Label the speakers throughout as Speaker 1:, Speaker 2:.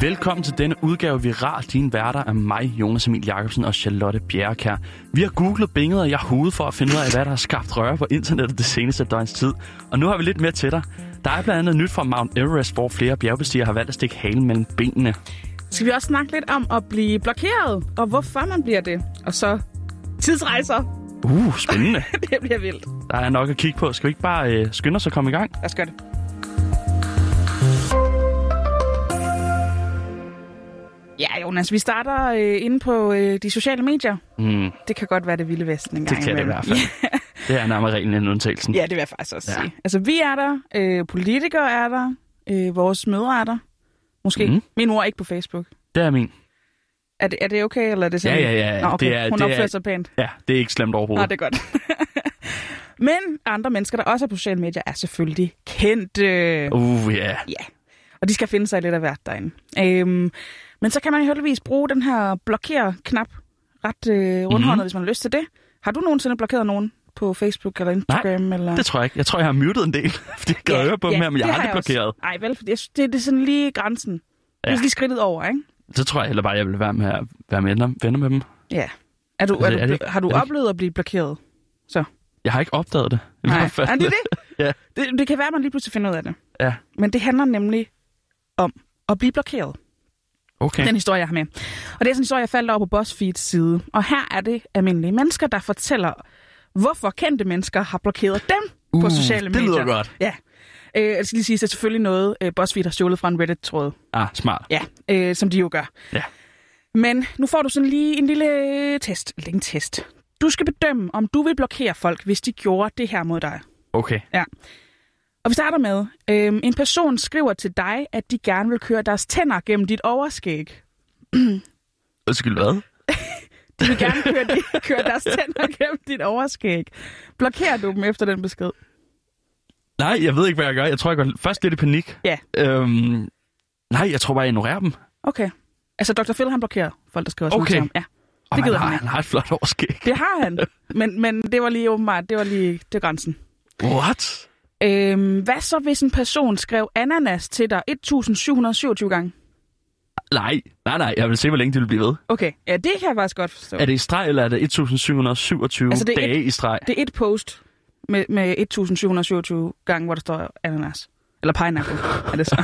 Speaker 1: Velkommen til denne udgave af Viral. Dine værter er mig, Jonas Emil Jacobsen og Charlotte Bjerrekær. Vi har googlet binget og jeg hovedet for at finde ud af, hvad der har skabt røre på internettet det seneste døgns tid. Og nu har vi lidt mere til dig. Der er blandt andet nyt fra Mount Everest, hvor flere bjergbestigere har valgt at stikke halen mellem benene.
Speaker 2: Skal vi også snakke lidt om at blive blokeret, og hvorfor man bliver det? Og så tidsrejser.
Speaker 1: Uh, spændende.
Speaker 2: det bliver vildt.
Speaker 1: Der er nok at kigge på. Skal vi ikke bare øh, skynde os at komme i gang?
Speaker 2: Lad os gøre det. Ja, Jonas, vi starter øh, inde på øh, de sociale medier.
Speaker 1: Mm,
Speaker 2: Det kan godt være det vilde vesten en
Speaker 1: det
Speaker 2: gang
Speaker 1: kan det i
Speaker 2: imellem.
Speaker 1: hvert fald. Det er nærmere reglen end undtagelsen.
Speaker 2: Ja, det vil jeg faktisk også
Speaker 1: Ja.
Speaker 2: ja. sige. Altså, vi er der, øh, politikere er der, øh, vores mødre er der. Måske.
Speaker 1: Mhm.
Speaker 2: Mm. Min mor er ikke på Facebook.
Speaker 1: Det er min.
Speaker 2: Er det, er det okay, eller er det sådan?
Speaker 1: Ja, ja, ja.
Speaker 2: Nå, okay.
Speaker 1: Det er-
Speaker 2: Hun
Speaker 1: det er-
Speaker 2: opfører sig pænt.
Speaker 1: Ja, det er ikke slemt
Speaker 2: Nå,
Speaker 1: overhovedet.
Speaker 2: det er godt. Men andre mennesker, der også er på sociale medier, er selvfølgelig kendte.
Speaker 1: det... Uh, ja. Yeah.
Speaker 2: Ja, og de skal finde sig lidt af hvert derinde. Øhm, men så kan man heldigvis bruge den her blokere-knap ret øh, rundhåndet,
Speaker 1: Mhm.
Speaker 2: mm-hmm. hvis man har lyst til det. Har du nogensinde blokeret nogen på Facebook eller Instagram? eller?
Speaker 1: Det tror jeg ikke. Jeg tror, jeg har muted en del, fordi jeg kan høre på dem her, men jeg
Speaker 2: det
Speaker 1: har aldrig
Speaker 2: også.
Speaker 1: blokeret.
Speaker 2: Nej, vel, fordi jeg synes, det, det er sådan lige grænsen. Ja.
Speaker 1: Ja.
Speaker 2: Det er lige skridtet over, ikke?
Speaker 1: Så tror jeg heller bare, jeg vil være med, at være med dem- venner med dem.
Speaker 2: Ja. Er du,
Speaker 1: Er det-
Speaker 2: er du,
Speaker 1: Altså, er det
Speaker 2: bl-
Speaker 1: ikke-
Speaker 2: har du
Speaker 1: er det ikke-
Speaker 2: oplevet at blive blokeret?
Speaker 1: Jeg har ikke opdaget det. I
Speaker 2: Nej,
Speaker 1: hvert fald.
Speaker 2: er det det?
Speaker 1: Ja.
Speaker 2: det? Det kan være, at man lige pludselig finder ud af det.
Speaker 1: Ja.
Speaker 2: Men det handler nemlig om at blive blokeret.
Speaker 1: Okay.
Speaker 2: Den historie, jeg har med. Og det er sådan en historie, jeg faldt over på BuzzFeeds side. Og her er det almindelige mennesker, der fortæller, hvorfor kendte mennesker har blokeret dem uh, på sociale
Speaker 1: det
Speaker 2: medier.
Speaker 1: lyder godt.
Speaker 2: Ja. Øh, jeg skal lige sige, at det er selvfølgelig noget, øh, BuzzFeed har stjålet fra en Reddit-tråd.
Speaker 1: Ah, smart.
Speaker 2: Ja, øh, som de jo gør.
Speaker 1: Ja.
Speaker 2: Men nu får du sådan lige en lille øh, test. Eller ikke en test. Du skal bedømme, om du vil blokere folk, hvis de gjorde det her mod dig.
Speaker 1: Okay.
Speaker 2: Og vi starter med, øhm, en person skriver til dig, at de gerne vil køre deres tænder gennem dit overskæg.
Speaker 1: Undskyld, hvad?
Speaker 2: De vil gerne køre, de, køre deres tænder gennem dit overskæg. Blokerer du dem efter den besked?
Speaker 1: Nej, jeg ved ikke, hvad jeg gør. Jeg tror, jeg går først lidt i panik.
Speaker 2: Ja.
Speaker 1: Øhm, nej, jeg tror bare, jeg ignorerer dem.
Speaker 2: Okay. Altså, Dr. Phil, han blokerer folk, der skriver sådan
Speaker 1: Okay.
Speaker 2: noget til ham. Ja,
Speaker 1: Og
Speaker 2: Det gider
Speaker 1: han, har,
Speaker 2: han ikke.
Speaker 1: han har et flot overskæg.
Speaker 2: det har han. Men, men det var lige åbenbart, det var lige det var grænsen.
Speaker 1: What?
Speaker 2: Øhm, hvad så, hvis en person skrev ananas til dig 1727 gange?
Speaker 1: Nej, nej, nej. Jeg vil se, hvor længe de vil blive ved.
Speaker 2: Okay, ja, det kan jeg faktisk godt forstå.
Speaker 1: Er det i streg, eller er det 1727
Speaker 2: Altså, det er
Speaker 1: dage i streg?
Speaker 2: Det er et post med, med 1727 gange, hvor der står ananas. Eller pineapple, er det så.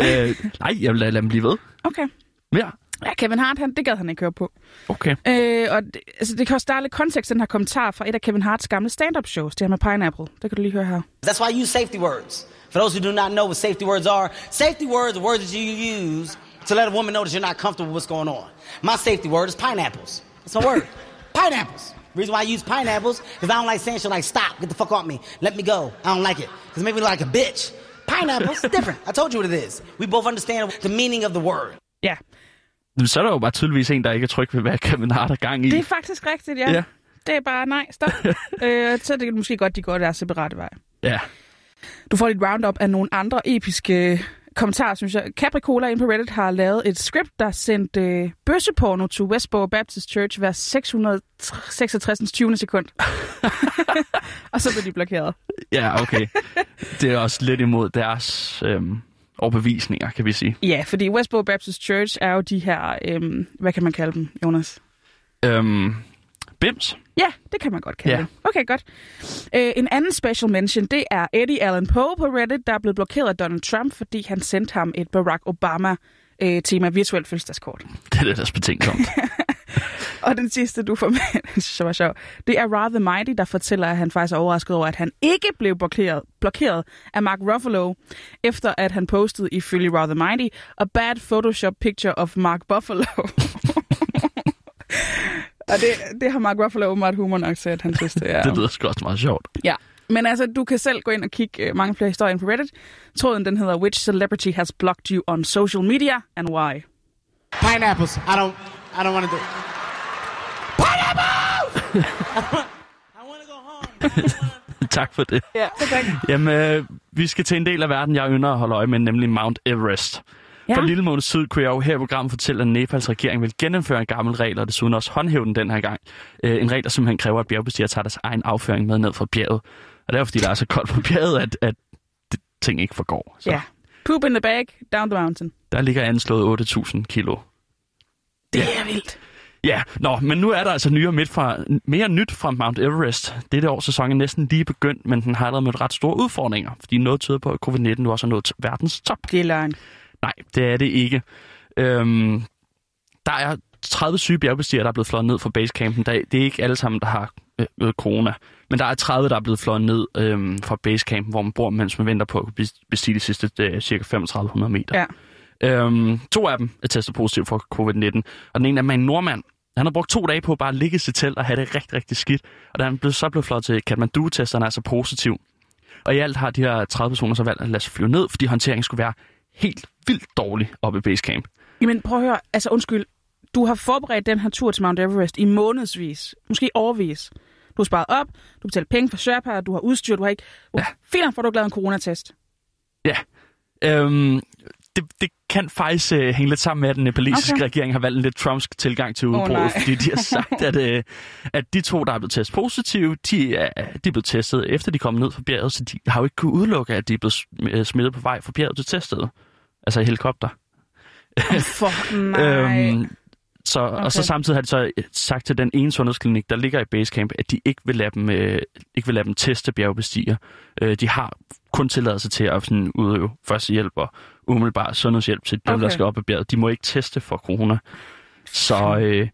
Speaker 1: øh, nej, jeg vil lade, lade dem blive ved.
Speaker 2: Okay.
Speaker 1: Ja,
Speaker 2: Ja, Kevin Hart, han, det gad han ikke høre på.
Speaker 1: okay.
Speaker 2: Øh, og det, altså, det kan også starte lidt kontekst, den her kommentar fra et af Kevin Harts gamle stand-up shows, det her med pineapple. Det kan du lige høre her.
Speaker 3: That's why I use safety words. For those who do not know what safety words are, safety words are words that you use to let a woman know that you're not comfortable with what's going on. My safety word is pineapples. That's my word. pineapples. Reason why I use pineapples is I don't like saying shit like stop, get the fuck off me, let me go. I don't like it. Because it makes me look like a bitch. Pineapples, different. I told you what it is. We both understand the meaning of the word.
Speaker 2: Ja,
Speaker 1: Jamen, Så er der jo bare tydeligvis en, der ikke er tryg ved, hvad Kevin Hart har gang i.
Speaker 2: det er faktisk rigtigt, ja.
Speaker 1: Ja.
Speaker 2: Det er bare, nej, stop. øh, så er det måske godt, de går deres separate vej.
Speaker 1: Ja.
Speaker 2: Du får lidt roundup af nogle andre episke øh, kommentarer, synes jeg. Capricola inde på Reddit har lavet et script, der sendte øh, bøsseporno til Westboro Baptist Church hver 666. 20. sekund. og så blev de blokeret.
Speaker 1: Ja, okay. det er også lidt imod deres øhm, overbevisninger, kan vi sige.
Speaker 2: Ja, fordi Westboro Baptist Church er jo de her, øhm, hvad kan man kalde dem, Jonas?
Speaker 1: Øhm, bims?
Speaker 2: Ja, det kan man godt kalde
Speaker 1: Ja.
Speaker 2: det. Okay, godt. Øh, en anden special mention, det er Eddie Allan Poe på Reddit, der er blevet blokeret af Donald Trump, fordi han sendte ham et Barack Obama-tema virtuelt fødselsdagskort.
Speaker 1: Det er det, der betænksomt.
Speaker 2: Og den sidste, du får med, den synes jeg var sjov, det er Rather Mighty, der fortæller, at han faktisk er overrasket over, at han ikke blev blokeret, blokeret af Mark Ruffalo, efter at han postede ifølge Rather Mighty, a bad Photoshop picture of Mark Buffalo. Og det, det har Mark Ruffalo åbenbart humor nok til, at han synes, det er.
Speaker 1: det lyder sgu også meget sjovt.
Speaker 2: Ja, men altså, du kan selv gå ind og kigge øh, mange flere historier ind på Reddit. Tråden, den hedder, Which celebrity has blocked you on social media and why?
Speaker 3: Pineapples. I don't I don't wanna do it. Pineapples! I wanna go home.
Speaker 1: tak for det.
Speaker 2: Ja, tak.
Speaker 1: Jamen, øh, vi skal til en del af verden, jeg ynder at holde øje med, nemlig Mount Everest. Ja.
Speaker 2: Ja.
Speaker 1: For en lille måned siden kunne jeg jo her i programmet fortælle, at Nepals regering vil genindføre en gammel regel, og desuden også håndhæve den den her gang. Øh, en regel, der simpelthen kræver, at bjergbestigere tager deres egen afføring med ned fra bjerget. Og det er jo, fordi der er så koldt på bjerget, at, at det, ting ikke forgår. Så.
Speaker 2: Ja. Poop in the bag, down the mountain.
Speaker 1: Der ligger anslået 8.000 kilo.
Speaker 2: Det er vildt.
Speaker 1: Ja, nå, men nu er der altså nyere midt fra, mere nyt fra Mount Everest. Dette års sæson er næsten lige begyndt, men den har allerede mødt ret store udfordringer, fordi noget tyder på, at covid-19 nu også er nået verdens top.
Speaker 2: Det er løgn.
Speaker 1: Nej, det er det ikke. Øhm, der er 30 syge bjergbestigere, der er blevet flået ned fra basecampen. Der, det er ikke alle sammen, der har øh, øh, corona. Men der er 30, der er blevet flået ned øh, fra basecampen, hvor man bor, mens man venter på at kunne bes- bestige de sidste øh, cirka 3500 meter.
Speaker 2: Ja.
Speaker 1: Øhm, to af dem er testet positiv for covid-19, og den ene af dem er en nordmand. Han har brugt to dage på bare at ligge i sit telt og have det rigtig, rigtig skidt. Og da han blev, så blev flået til Kathmandu, tester han er altså positiv. Og i alt har de her 30 personer så valgt at lade sig flyve ned, fordi håndteringen skulle være helt vildt dårlig oppe i basecamp.
Speaker 2: Jamen prøv at høre, altså undskyld. Du har forberedt den her tur til Mount Everest i månedsvis, måske overvis. Du har sparet op, du betaler penge for Sherpa, du har udstyr, du har ikke... Ja. Fint, nok, for du har lavet en coronatest.
Speaker 1: Ja. Øhm, det, det kan faktisk øh, hænge lidt sammen med, at den nepalesiske okay.
Speaker 2: Okay.
Speaker 1: regering har valgt en lidt trumpsk tilgang til udbruddet, oh,
Speaker 2: nej.
Speaker 1: fordi de har sagt, at, øh, at de to, der er blevet testet positive, de er, de er blevet testet efter de kom ned fra bjerget, så de har jo ikke kunnet udelukke, at de er blevet sm- øh, smittet på vej fra bjerget til teststedet. Altså i helikopter.
Speaker 2: For nej. Øhm,
Speaker 1: så, okay. Og så
Speaker 2: Okay.
Speaker 1: samtidig har de så øh, sagt til den ene sundhedsklinik, der ligger i Basecamp, at de ikke vil lade dem, øh, ikke vil lade dem teste bjergbestiger. Øh, de har kun tilladelse til at sådan, udøve førstehjælp og umiddelbar sundhedshjælp til dem, okay. der
Speaker 2: Okay.
Speaker 1: skal op ad bjerget. De må ikke teste for corona. Så øh,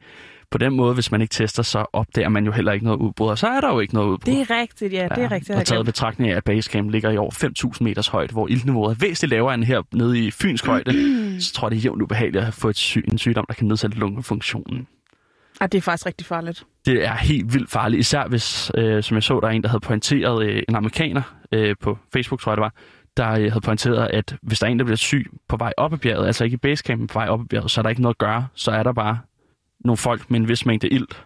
Speaker 1: på den måde, hvis man ikke tester, så opdager man jo heller ikke noget udbrud, og så er der jo ikke noget udbrud.
Speaker 2: det er rigtigt, ja, det er rigtigt. jeg
Speaker 1: Og taget i
Speaker 2: glemte.
Speaker 1: betragtning af, at basecamp ligger i over 5.000 meters højde, hvor iltniveauet er væsentligt lavere end her nede i Fyns højde, så tror jeg, det er jævnt ubehageligt at få et syg, en sygdom, der kan nedsætte lungefunktionen.
Speaker 2: Ah, det er faktisk rigtig farligt.
Speaker 1: Det er helt vildt farligt, især hvis, øh, som jeg så, der er en, der havde pointeret, øh, en amerikaner øh, på Facebook, tror jeg det var, der øh, havde pointeret, at hvis der er en, der bliver syg på vej op ad bjerget, altså ikke i basecamp, men på vej op ad bjerget, så er der ikke noget at gøre, så er der bare nogle folk med en vis mængde ilt,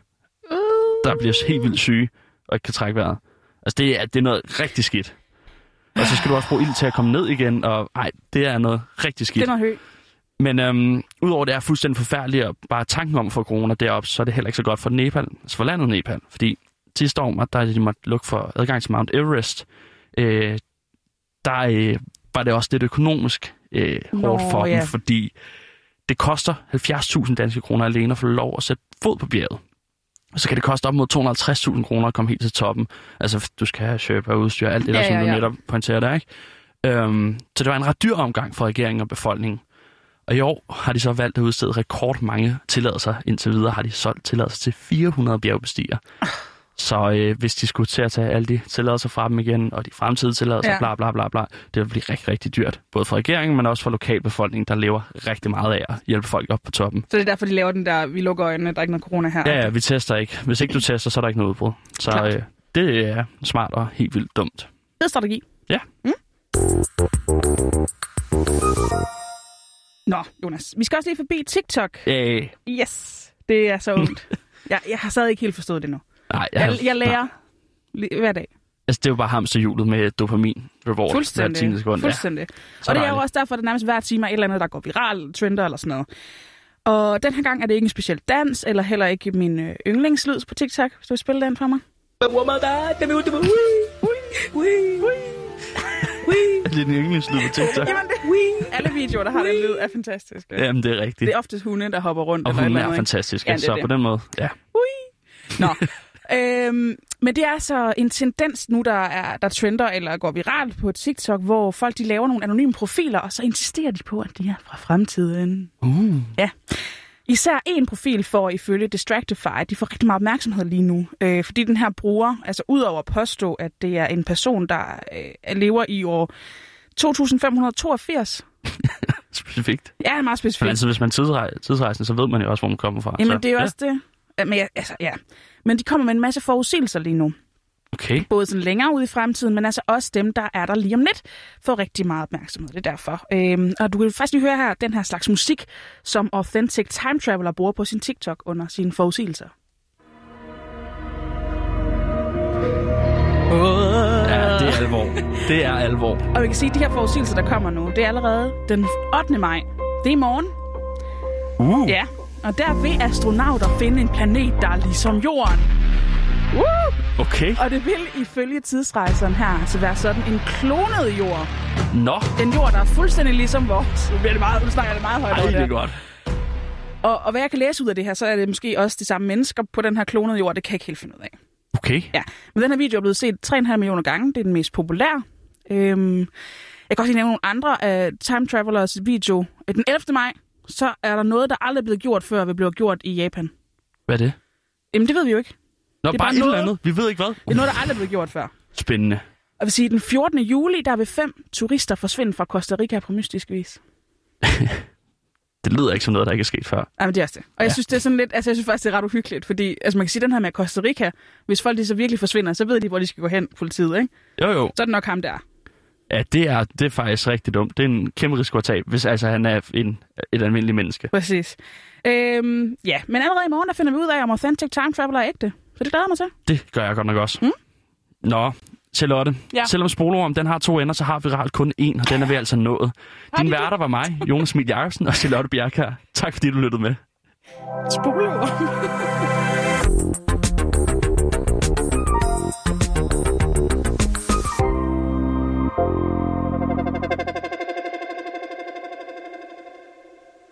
Speaker 1: der bliver helt vildt syge og ikke kan trække vejret. Altså, det er, det er noget rigtig skidt. Og så skal du også bruge ild til at komme ned igen, og nej, det er noget rigtig
Speaker 2: Det
Speaker 1: skidt.
Speaker 2: er noget højt.
Speaker 1: Men øhm, udover det er fuldstændig forfærdeligt, og bare tanken om for corona deroppe, så er det heller ikke så godt for Nepal, altså for landet Nepal. Fordi sidste år, der de måtte lukke for adgang til Mount Everest, øh, der øh, var det også lidt økonomisk øh,
Speaker 2: Nå,
Speaker 1: hårdt for
Speaker 2: ja.
Speaker 1: dem, fordi det koster 70.000 danske kroner alene at få lov at sætte fod på bjerget. Og så kan det koste op mod 250.000 kroner at komme helt til toppen. Altså, du skal have Sherpa udstyr og alt det der,
Speaker 2: Ja,
Speaker 1: som
Speaker 2: ja,
Speaker 1: du
Speaker 2: ja.
Speaker 1: netop pointerer der, ikke? Øhm, så det var en ret dyr omgang for regeringen og befolkningen. Og i år har de så valgt at udstede rekordmange tilladelser. Indtil videre har de solgt tilladelser til 400 bjergbestiger. Så øh, hvis de skulle til at tage alle de tilladelser fra dem igen, og de fremtidige tilladelser, ja.
Speaker 2: Ja.
Speaker 1: bla bla bla bla, det vil blive rigtig, rigtig dyrt. Både for regeringen, men også for lokalbefolkningen, der lever rigtig meget af at hjælpe folk op på toppen.
Speaker 2: Så det er derfor, de laver den der, vi lukker øjnene, der er ikke noget corona her.
Speaker 1: Ja, ja, vi tester ikke. Hvis ikke du tester, så er der ikke noget udbrud. Så
Speaker 2: Klart.
Speaker 1: øh, det er smart og helt vildt dumt.
Speaker 2: Fed strategi.
Speaker 1: Ja.
Speaker 2: Mm. Nå, Jonas. Vi skal også lige forbi TikTok.
Speaker 1: Øh,
Speaker 2: Yes, det er så ondt. jeg, jeg har stadig ikke helt forstået det nu.
Speaker 1: nej, jeg,
Speaker 2: Jeg, jeg
Speaker 1: nej.
Speaker 2: lærer li- hver dag.
Speaker 1: Altså, det er jo bare hamsterhjulet med dopamin reward. Hver tiende
Speaker 2: Fuldstændig.
Speaker 1: sekund. Ja,
Speaker 2: Fuldstændig.
Speaker 1: så
Speaker 2: Og det er jo
Speaker 1: dejligt.
Speaker 2: også derfor, at der nærmest hver time er et eller andet, der går viral, trender eller sådan noget. Og den her gang er det ikke en speciel dans, eller heller ikke min øh, yndlingslyd på TikTok. Skal du spille den for mig?
Speaker 1: Det er den yndlingslyd på TikTok.
Speaker 2: Jamen, det, alle videoer, der har den lyd, er fantastisk. Ja.
Speaker 1: Jamen, det er rigtigt.
Speaker 2: Det er oftest hunde, der hopper rundt.
Speaker 1: Og
Speaker 2: eller et
Speaker 1: hun
Speaker 2: eller
Speaker 1: er
Speaker 2: andet, ikke?
Speaker 1: fantastisk,
Speaker 2: Ja,
Speaker 1: ja,
Speaker 2: det er
Speaker 1: så
Speaker 2: det.
Speaker 1: på den måde, ja.
Speaker 2: Nå. øhm, men det er altså en tendens nu, der, er, der trender eller går viralt på TikTok, hvor folk de laver nogle anonyme profiler, og så insisterer de på, at de er fra fremtiden.
Speaker 1: Uh.
Speaker 2: Ja. Især en profil får ifølge Distractify, de får rigtig meget opmærksomhed lige nu, øh, fordi den her bruger, altså udover at påstå, at det er en person, der øh, lever i år 2582.
Speaker 1: Specifikt.
Speaker 2: Ja, det er meget
Speaker 1: Men
Speaker 2: specifikt.
Speaker 1: altså, hvis man tidsrej- tidsrejsen, så ved man jo også, hvor man kommer fra.
Speaker 2: Jamen,
Speaker 1: så,
Speaker 2: det er jo
Speaker 1: ja.
Speaker 2: også det. Ja, Men, jeg- altså, ja. men de kommer med en masse forudsigelser lige nu.
Speaker 1: Okay.
Speaker 2: både sådan længere ud i fremtiden, men altså også dem, der er der lige om lidt, får rigtig meget opmærksomhed. Det er derfor. Øhm, og du kan faktisk lige høre her den her slags musik, som Authentic Time Traveler bruger på sin TikTok under sine forudsigelser.
Speaker 1: Ja, det er alvor. Det er alvor.
Speaker 2: Og vi kan se, at de her forudsigelser, der kommer nu, det er allerede den 8. maj. Det er i morgen.
Speaker 1: Uh.
Speaker 2: Ja. Og der vil astronauter finde en planet, der er ligesom Jorden. Woo!
Speaker 1: Okay.
Speaker 2: Og det vil ifølge tidsrejseren her altså være sådan en klonet jord.
Speaker 1: Nå,
Speaker 2: En jord, der er fuldstændig ligesom vores. Nu, bliver det meget, nu snakker jeg det meget højt.
Speaker 1: ej,
Speaker 2: over
Speaker 1: det
Speaker 2: her.
Speaker 1: er godt.
Speaker 2: Og, og hvad jeg kan læse ud af det her, så er det måske også de samme mennesker på den her klonede jord. Det kan jeg ikke helt finde ud af.
Speaker 1: Okay.
Speaker 2: Ja, men den her video er blevet set 3,5 millioner gange. Det er den mest populære. Øhm, jeg kan også lige nævne nogle andre af Time Travelers video. Øh, Den 11. maj, så er der noget, der aldrig er blevet gjort før, vil blive gjort i Japan.
Speaker 1: Hvad er det?
Speaker 2: Jamen, det ved vi jo ikke.
Speaker 1: Nå,
Speaker 2: Det er
Speaker 1: bare
Speaker 2: bare
Speaker 1: et eller
Speaker 2: noget-
Speaker 1: andet. Vi ved ikke hvad.
Speaker 2: Det er noget, der aldrig er blevet gjort før.
Speaker 1: Spændende.
Speaker 2: Og vil sige, den 14. juli, der vil fem turister forsvinde fra Costa Rica på mystisk vis.
Speaker 1: Det lyder ikke som noget, der ikke er sket før.
Speaker 2: Jamen, det er også det. Og jeg
Speaker 1: Ja.
Speaker 2: synes, det er sådan lidt, altså jeg synes faktisk, det er ret uhyggeligt, fordi altså, man kan sige, den her med Costa Rica, hvis folk de så virkelig forsvinder, så ved de, hvor de skal gå hen, politiet, ikke?
Speaker 1: Jo, jo.
Speaker 2: Så er det nok ham der.
Speaker 1: Ja, det er, det er faktisk rigtig dumt. Det er en kæmpe risiko at tage, hvis altså han er en, et almindeligt menneske.
Speaker 2: Præcis. Øhm, ja, men allerede i morgen, der finder vi ud af, om Authentic Time Traveler er ægte. Så det glæder jeg mig til.
Speaker 1: Det gør jeg godt nok også. Mm? Nå, Charlotte.
Speaker 2: Ja.
Speaker 1: Ja. Selvom spolorm, den har to ender, så har viralt kun én, og den er vi altså nået.
Speaker 2: de
Speaker 1: Din
Speaker 2: det?
Speaker 1: værter var mig, Jonas Emil Jacobsen og Charlotte Bjerkær. Tak fordi du lyttede med.
Speaker 2: Spole